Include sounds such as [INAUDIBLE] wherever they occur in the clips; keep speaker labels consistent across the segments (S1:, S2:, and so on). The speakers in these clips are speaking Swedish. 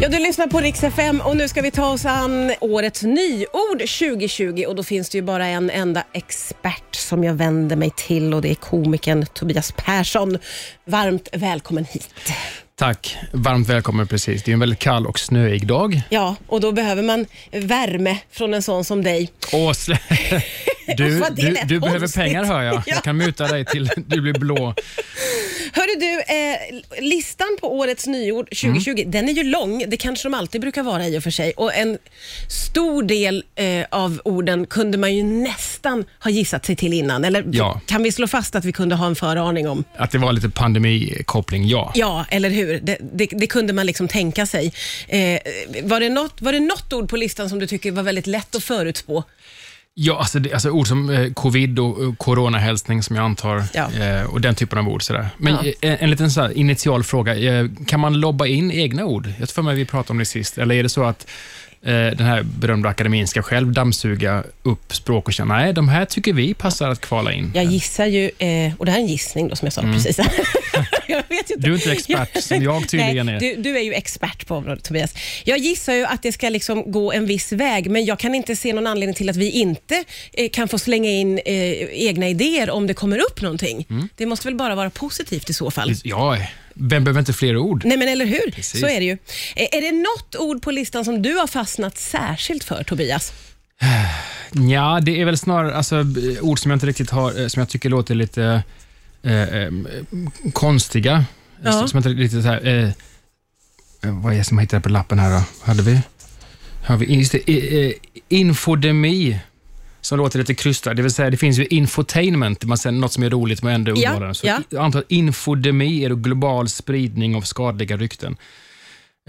S1: Ja, du lyssnar på Rix FM och nu ska vi ta oss an årets nyord 2020 och då finns det ju bara en enda expert som jag vänder mig till och det är komikern Tobias Persson. Varmt välkommen hit.
S2: Tack. Varmt välkommen precis. Det är en väldigt kall och snöig dag.
S1: Ja, och då behöver man värme från en sån som dig.
S2: Och slä- [LAUGHS] du,
S1: Vad det
S2: du,
S1: lät
S2: du behöver
S1: konstigt.
S2: pengar hör jag.
S1: Ja.
S2: Jag kan muta dig till du blir blå.
S1: Hörru du, eh, listan på årets nyord 2020, den är ju lång. Det kanske de alltid brukar vara i och för sig. Och en stor del eh, av orden kunde man ju nästan ha gissat sig till innan. Eller
S2: Ja.
S1: kan vi slå fast att vi kunde ha en föraning om?
S2: Att det var lite pandemikoppling, ja.
S1: Ja, eller hur? Det, det, det kunde man liksom tänka sig. Eh, var, det något, var det något ord på listan som du tycker var väldigt lätt att förutspå?
S2: ja alltså, det, alltså ord som eh, covid och eh, coronahälsning som jag antar
S1: Ja.
S2: eh, och den typen av ord. Sådär. Men
S1: Ja.
S2: eh, en, en liten så här initial fråga. Eh, kan man lobba in egna ord? Jag tror för mig vi pratade om det sist. Eller är det så att eh, den här berömda akademin ska själv dammsuga upp språk och känna, nej, de här tycker vi passar att kvala in.
S1: Jag gissar ju, eh, och det här är en gissning då, som jag sa
S2: [LAUGHS]
S1: precis. jag vet ju inte.
S2: Mm. Du är inte expert, som jag tydligen
S1: Nej,
S2: är.
S1: Du, du är ju expert på området Tobias. Jag gissar ju att det ska liksom gå en viss väg, men jag kan inte se någon anledning till att vi inte eh, kan få slänga in eh, egna idéer om det kommer upp någonting.
S2: Mm.
S1: Det måste väl bara vara positivt i så fall.
S2: Ja, vem behöver inte fler ord?
S1: Nej men eller hur,
S2: Precis.
S1: så är det ju. Eh, Är det något ord på listan som du har fastnat särskilt för Tobias?
S2: Ja, det är väl snarare alltså, b- ord som jag inte riktigt har, eh, som jag tycker låter lite eh, eh, konstiga.
S1: Ja.
S2: Som inte riktigt så här, eh, eh, vad är det som jag hittade på lappen här då? Hade vi? Har vi just det, eh, eh, infodemi, som låter lite krystat. Det vill säga, det finns ju infotainment, man säger något som är roligt men ändå
S1: Ja,
S2: underhållande. Så
S1: ja.
S2: Jag antar att infodemi är då global spridning av skadliga rykten.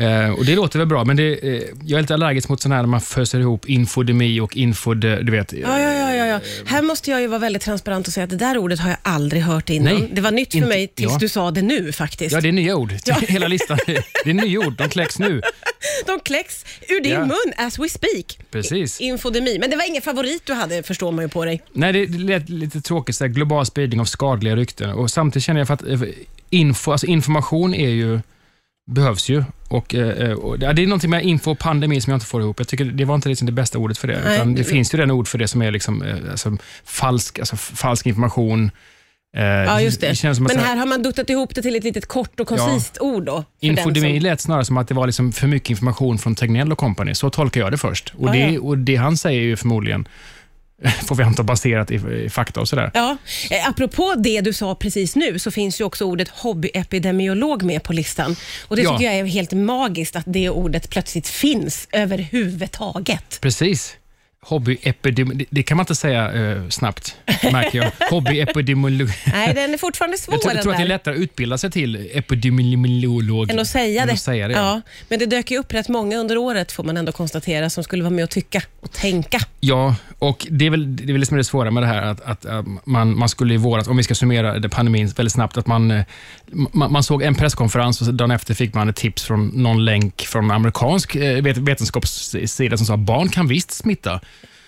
S2: Eh, och Det låter väl bra, men det, eh, jag är lite allergisk mot sådana här när man föser ihop infodemi och infode... Du vet, eh,
S1: Ja, ja, ja, ja, ja. Här måste jag ju vara väldigt transparent och säga att det där ordet har jag aldrig hört innan.
S2: Nej,
S1: det var nytt för
S2: inte-
S1: mig tills
S2: ja.
S1: du sa det nu faktiskt.
S2: Ja, det är nya ord. [LAUGHS] Hela listan. Det är nya ord. De kläcks nu.
S1: De kläcks ur din
S2: Ja.
S1: mun as we speak.
S2: Precis.
S1: Infodemi. Men det var ingen favorit du hade förstår man ju på dig.
S2: Nej, det lät lite tråkigt. Så här, global spridning av skadliga rykten. Och samtidigt känner jag för att eh, info, alltså information är ju, behövs ju. Och, eh, eh, och, ja, det är någonting med info och pandemi som jag inte får ihop. Jag tycker Det var inte liksom det bästa ordet för det.
S1: Nej.
S2: Utan det finns ju den ord för det som är liksom, eh, alltså, falsk, alltså, f- falsk information. Eh,
S1: Ja, just det.
S2: det känns som att
S1: Men
S2: så här-
S1: här har man duttat ihop det till ett litet kort och koncist ord då. för den
S2: Infodemi
S1: som-
S2: lät snarare som att det var liksom för mycket information från Tegnell och company. Så tolkar jag det först. Och,
S1: Ah,
S2: det,
S1: ja.
S2: och det han säger är ju förmodligen, [LAUGHS] får vi anta, baserat i, i fakta och sådär.
S1: Ja, eh, apropå det du sa precis nu så finns ju också ordet hobbyepidemiolog med på listan. Och Det
S2: Ja.
S1: tycker jag är helt magiskt att det ordet plötsligt finns
S2: [LAUGHS]
S1: överhuvudtaget.
S2: Precis. Hobbyepidemi... Det, det kan man inte säga eh, snabbt,
S1: [LAUGHS]
S2: märker jag. Hobbyepidemiolog...
S1: Nej, den är fortfarande svår
S2: Jag tror,
S1: den
S2: jag tror att det
S1: där.
S2: är lättare att utbilda sig till epidemiolog
S1: än att säga
S2: än
S1: det.
S2: Att säga det. Ja.
S1: Ja, men det dök ju upp rätt många under året får man ändå konstatera som skulle vara med och tycka och tänka.
S2: Ja, och det är väl det, är väl liksom det svåra med det här att, att eh, man, man skulle i våras, om vi ska summera det pandemin väldigt snabbt, att man, eh, man, man såg en presskonferens och så dagen efter fick man ett tips från någon länk från en amerikansk eh, vet- vetenskapssida som sa barn kan visst smitta.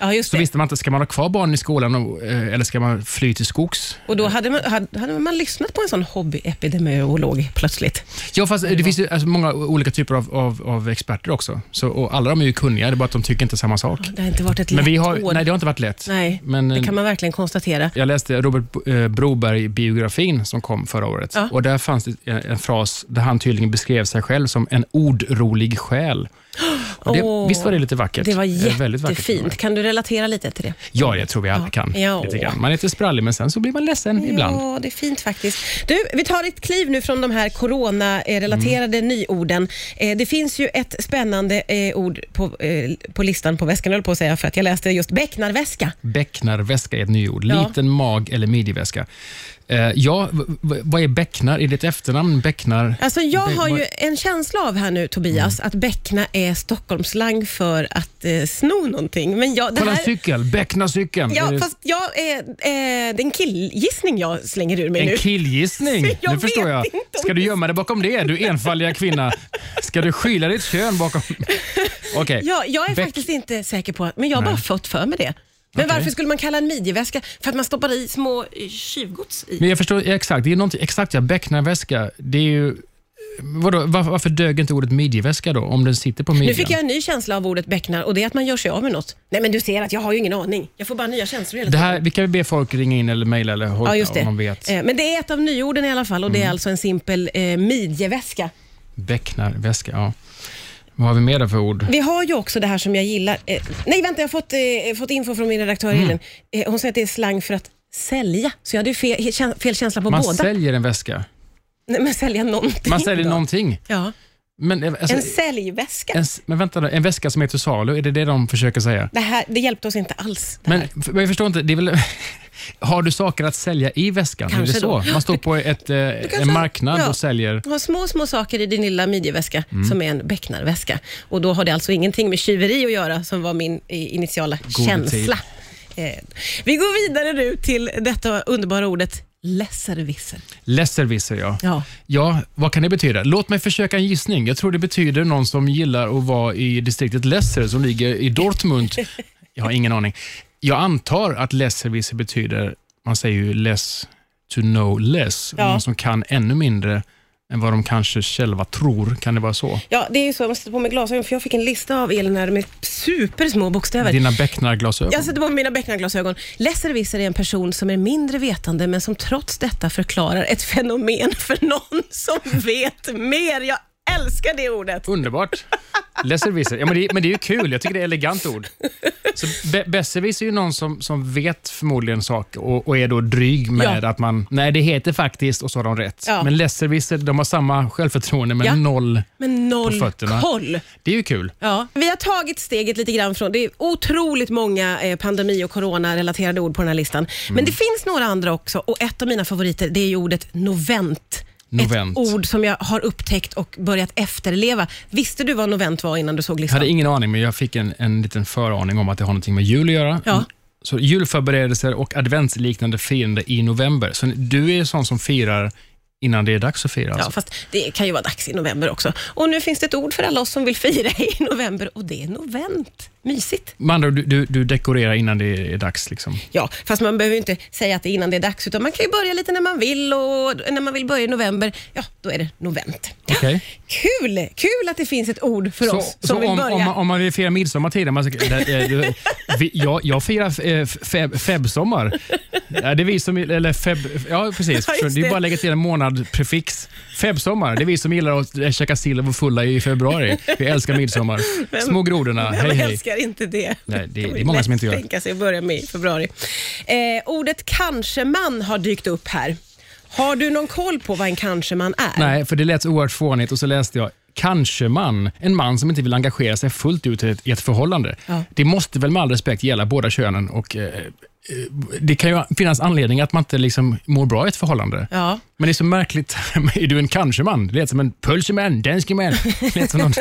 S1: Ja, just
S2: Så
S1: det.
S2: visste man inte, ska man ha kvar barnen i skolan och, eh, eller ska man fly till skogs?
S1: Och då hade man, hade, hade man lyssnat på en sån hobbyepidemiolog plötsligt.
S2: Ja, fast det finns ju alltså, många olika typer av, av, av experter också. Så, och alla de är ju kunniga, det är bara att de tycker inte samma sak.
S1: Det har inte varit ett lätt
S2: Men vi har,
S1: år.
S2: nej, det har inte varit lätt.
S1: Nej,
S2: Men,
S1: det
S2: eh,
S1: kan man verkligen konstatera.
S2: Jag läste Robert Bo- eh, Broberg-biografin som kom förra året.
S1: Ja.
S2: Och Där fanns det en- en fras där han tydligen beskrev sig själv som en ordrolig själ. Och det,
S1: Åh.
S2: visst var det lite vackert?
S1: Det var
S2: Eh, väldigt vackert.
S1: jättefint. Kan du relatera lite till det?
S2: Ja, jag tror vi alla
S1: Ja.
S2: kan.
S1: Ja.
S2: Lite grann. Man är lite sprallig, men sen så blir man ledsen Mm, ibland.
S1: Ja, det är fint faktiskt. Du, vi tar ett kliv nu från de här coronarelaterade
S2: Mm.
S1: nyorden. Eh, det finns ju ett spännande eh, ord på, eh, på listan på väskan, jag höll på att säga, för att jag läste just becknarväska.
S2: Bäcknarväska är ett nyord.
S1: Ja.
S2: Liten mag eller midjeväska. Eh, ja, v- v- vad är bäcknar? Är det ett efternamn? Bäcknar?
S1: Alltså jag
S2: Bäck-
S1: har
S2: vad- Mm.
S1: ju en känsla av här nu Tobias, att beckna är Stockholmsslang för att eh, sno någonting. Men jag, det
S2: Kolla en
S1: här,
S2: cykel! Bäcknarcykeln!
S1: ja,
S2: Är det-
S1: fast jag, eh, eh, det är en killgissning jag slänger ur mig nu.
S2: En
S1: [LAUGHS]
S2: killgissning.
S1: Så jag
S2: nu förstår
S1: vet
S2: jag.
S1: inte om
S2: Ska du
S1: det-
S2: gömma dig bakom det, du enfaldiga kvinna? Ska du skylla ditt
S1: [LAUGHS]
S2: kön bakom... Okej.
S1: Ja, jag är
S2: Bäck-
S1: faktiskt inte säker på, men jag har bara
S2: Nej.
S1: fått för mig det. Men
S2: Okej.
S1: varför skulle man kalla en midjeväska för att man stoppar i små eh, tjuvgods i?
S2: Men jag förstår ja, exakt. Det är någonting, exakt ja, becknarväska. Det är ju Vadå, var, varför dög inte ordet midjeväska då, om den sitter på midjan?
S1: Nu fick jag en ny känsla av ordet becknar och det är att man gör sig av med något. Nej men du ser att jag har ju ingen aning. Jag får bara nya känslor hela
S2: det
S1: tiden.
S2: här, vi kan ju be folk ringa in eller mejla eller hojta
S1: Ja, just det.
S2: om de vet. Mm.
S1: Eh, Men det är ett av nyorden i alla fall och det är alltså en simpel eh, midjeväska.
S2: Becknarväska, ja. Vad har vi mer där för ord?
S1: Vi har ju också det här som jag gillar. Eh, nej, vänta, jag har fått, eh, fått info från min redaktör
S2: Mm.
S1: Elin. Eh, hon säger att det är slang för att sälja, så jag hade ju fel, he- kän- fel känsla på
S2: Man
S1: båda.
S2: säljer en väska.
S1: nej, men sälja någonting.
S2: Man säljer
S1: då.
S2: någonting.
S1: Ja,
S2: Men, eh, alltså,
S1: en säljväska.
S2: en, s- men vänta, nu, en väska som är till salu, är det det de försöker säga?
S1: Det, här, det hjälpte oss inte alls. Det
S2: Men,
S1: här.
S2: f- men jag förstår inte, det är väl, [LAUGHS] har du saker att sälja i väskan? är
S1: Kanske
S2: det så?
S1: då.
S2: Man står på ett, eh,
S1: kanske-
S2: en marknad
S1: ja.
S2: och säljer.
S1: Du har små, små saker i din lilla midjeväska som är en becknarväska. Och då har det alltså ingenting med tjuveri att göra, som var min eh, initiala känsla. Eh, vi går vidare nu till detta underbara ordet lesservisser.
S2: Lesservisser, ja.
S1: Ja.
S2: Ja, vad kan det betyda? Låt mig försöka en gissning. Jag tror det betyder någon som gillar att vara i distriktet Lesser som ligger
S1: [LAUGHS]
S2: i Dortmund. Jag har ingen aning. Jag antar att Lesservisser betyder, man säger ju less to know less,
S1: Ja.
S2: någon som kan ännu mindre än vad de kanske själva tror. Kan det vara så?
S1: Ja, det är ju så. Jag måste sätta på mig glasögon för jag fick en lista av Elin här med supersmå bokstäver.
S2: Dina becknarglasögon?
S1: Jag sätter på mig mina becknarglasögon. Lesservisser är en person som är mindre vetande men som trots detta förklarar ett fenomen för någon
S2: [LAUGHS]
S1: som vet mer. Jag älskar det ordet.
S2: Underbart. Lesservisser. Ja, men, det, men det är ju kul. Jag tycker det är ett elegant ord. Så be- Besserwisser är ju någon som, som vet förmodligen saker och, och är då dryg med
S1: Ja.
S2: att man, nej det heter faktiskt och så har de rätt.
S1: Ja.
S2: Men lesservisser, de har samma självförtroende men
S1: Ja.
S2: noll.
S1: Men
S2: På
S1: noll
S2: fötterna.
S1: koll.
S2: Det är ju kul.
S1: Ja. Vi har tagit steget lite grann från, det är otroligt många eh, pandemi och corona-relaterade ord på den här listan.
S2: Mm.
S1: Men det finns några andra också och ett av mina favoriter det är ju ordet novent.
S2: Novent.
S1: Ett ord som jag har upptäckt och börjat efterleva. Visste du vad novent var innan du såg
S2: Jag
S1: listan?
S2: hade ingen aning, men jag fick en, en liten föraning om att det har någonting med jul att göra.
S1: Ja.
S2: Så julförberedelser och adventsliknande firande i november. Så du är sån som firar innan det är dags att fira?
S1: Ja,
S2: Alltså.
S1: fast det kan ju vara dags i november också. Och nu finns det ett ord för alla oss som vill fira i november och det är novent. Mysigt.
S2: Med andra ord, du, du, du dekorerar innan det är dags? Liksom.
S1: Ja, fast man behöver ju inte säga att det är innan det är dags, utan man kan ju börja lite när man vill och när man vill börja i november, ja, då är det novent.
S2: Okej.
S1: Kul! Kul att det finns ett ord för oss som vill
S2: om,
S1: börja.
S2: Om, man- om man vill fira midsommar tidigare, man, ska- där, eh, du, vi, jag, jag firar eh, feb, febsommar. Ja, det är vi som, eller feb, ja precis,
S1: [LAUGHS] Ja, just
S2: det är
S1: det.
S2: bara att lägga till en månadprefix. Febsommar, det är vi som gillar att eh, käka sill och vara fulla i februari. Vi älskar midsommar. Små
S1: [LAUGHS]
S2: grodorna,
S1: Vem
S2: hej hej.
S1: älskar inte det?
S2: Nej, det-
S1: kan
S2: det är
S1: ju
S2: många
S1: lätt
S2: som inte gör det.
S1: tänka sig att börja med i februari. Eh, ordet kanske-man har dykt upp här. Har du någon koll på vad en kanske-man är?
S2: Nej, för det lät så oerhört fånigt och så läste jag Kanske man, en man som inte vill engagera sig fullt ut i ett, i ett förhållande.
S1: Ja.
S2: Det måste väl med all respekt gälla båda könen och eh, eh, det kan ju finnas anledning att man inte liksom mår bra i ett förhållande.
S1: Ja.
S2: Men det är så märkligt. [LAUGHS] är du en kanske-man? Det lät som en pölseman, danskeman. Det
S1: [LAUGHS]
S2: lät som någon-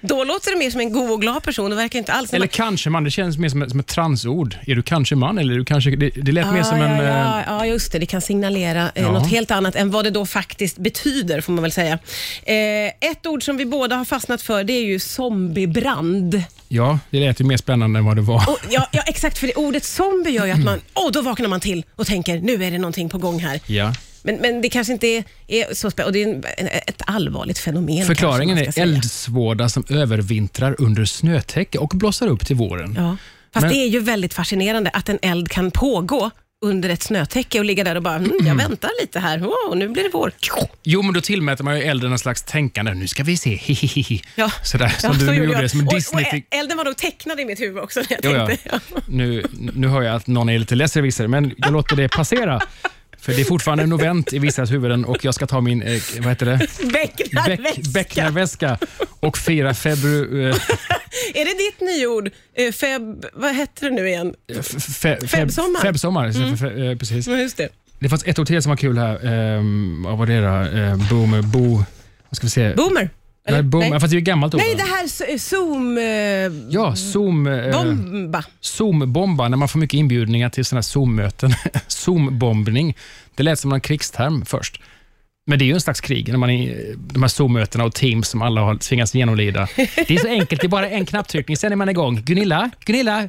S1: Då låter det mer som en god och glad person. Det verkar inte alls...
S2: Eller kanske-man, det känns mer som ett, som ett transord. Är du kanske-man? Eller är du kanske... Det, det lät mer som
S1: Ah, ja,
S2: en... eh,
S1: ja, ja, just det. Det kan signalera eh,
S2: Ja.
S1: något helt annat än vad det då faktiskt betyder, får man väl säga. Eh, ett ord som vi båda har fastnat för, det är ju zombiebrand.
S2: Ja, det lät ju mer spännande än vad det var.
S1: Och, ja, ja, exakt. För det ordet zombie gör ju att
S2: Mm.
S1: man, åh, då vaknar man till och tänker, nu är det någonting på gång här.
S2: Ja.
S1: Men, men det kanske inte är, är så spännande. Och det är en, en, ett allvarligt fenomen.
S2: Förklaringen
S1: kanske man
S2: är
S1: ska säga.
S2: eldsvåda som övervintrar under snötäcke och blossar upp till våren.
S1: Ja. Fast
S2: Men-
S1: det är ju väldigt fascinerande att en eld kan pågå under ett snötäcke och ligga där och bara, mm, jag väntar lite här, åh, nu blir det vår.
S2: Jo, men då tillmäter man ju elden någon slags tänkande. Nu ska vi se, [LAUGHS] hihihi.
S1: Ja.
S2: Sådär, som
S1: Ja,
S2: du
S1: så
S2: nu gjorde,
S1: jag.
S2: som
S1: Och-
S2: Disney
S1: och,
S2: fick.
S1: Elden var nog tecknad i mitt huvud också. när Jag
S2: Jo, ja.
S1: tänkte, ja.
S2: Nu, nu hör jag att någon är lite läservissare, men jag låter det passera. För det är fortfarande novent i vissas huvuden och jag ska ta min, eh, vad heter det?
S1: [LAUGHS]
S2: Beck,
S1: Becknarväska.
S2: becknarväska och fira febru... Eh,
S1: Är det ditt nyord? Eh, Feb... Vad hette det nu igen?
S2: f- fe, feb,
S1: Febsommar. Mm.
S2: Febsommar, så fe, fe, eh, precis.
S1: Ja, Just det.
S2: Det fanns ett ord till som var kul här. Ehm, vad var det då? Ehm, boomer, bo... Vad ska vi se?
S1: Boomer?
S2: Nej,
S1: Eller?
S2: boom,
S1: Nej.
S2: fast det är ju ett gammalt ord.
S1: Nej,
S2: va?
S1: det här s- eh, Zoom... Eh,
S2: Ja, Zoom... Eh,
S1: bomba.
S2: Zoom-bomba, när man får mycket inbjudningar till sådana här Zoom-möten. [LAUGHS] Zoom-bombning. Det lät som en krigsterm först. Men det är ju en slags krig, när man är, eh, de här Zoom-mötena och Teams som
S1: [LAUGHS]
S2: alla har tvingats genomlida. Det är så enkelt, det är bara en knapptryckning, sen är man igång. Gunilla, Gunilla,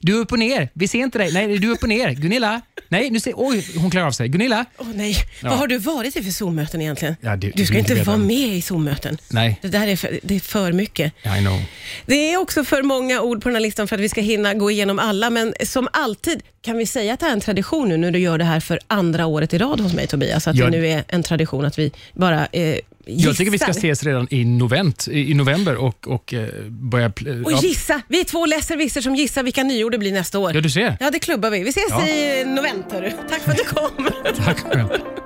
S2: Du är upp och ner. Vi ser inte dig. Nej, du är upp och ner. Gunilla. Nej, nu ser... Oj, hon klarar av sig. Gunilla.
S1: Åh nej, vad
S2: Ja.
S1: har du varit i för Zoom-möten egentligen?
S2: Ja, det-
S1: du ska
S2: det
S1: inte
S2: vet
S1: vara
S2: jag.
S1: med i Zoom-möten.
S2: Nej.
S1: Det där är för, det är för mycket.
S2: I know.
S1: Det är också för många ord på den här listan för att vi ska hinna gå igenom alla, men som alltid kan vi säga att det här är en tradition nu när du gör det här för andra året i rad hos mig Tobias, att
S2: Ja.
S1: det nu är en tradition att vi bara eh, gissar.
S2: Jag tycker vi ska ses redan i, novent, i i november och, och eh, börja... pl-
S1: Och
S2: ja.
S1: gissa! Vi är två läservisser som gissar vilka nyord det blir nästa år.
S2: ja, du ser.
S1: Ja, det klubbar vi. Vi ses
S2: Ja.
S1: i novent, hörru. Tack för att du kom.
S2: Tack själv.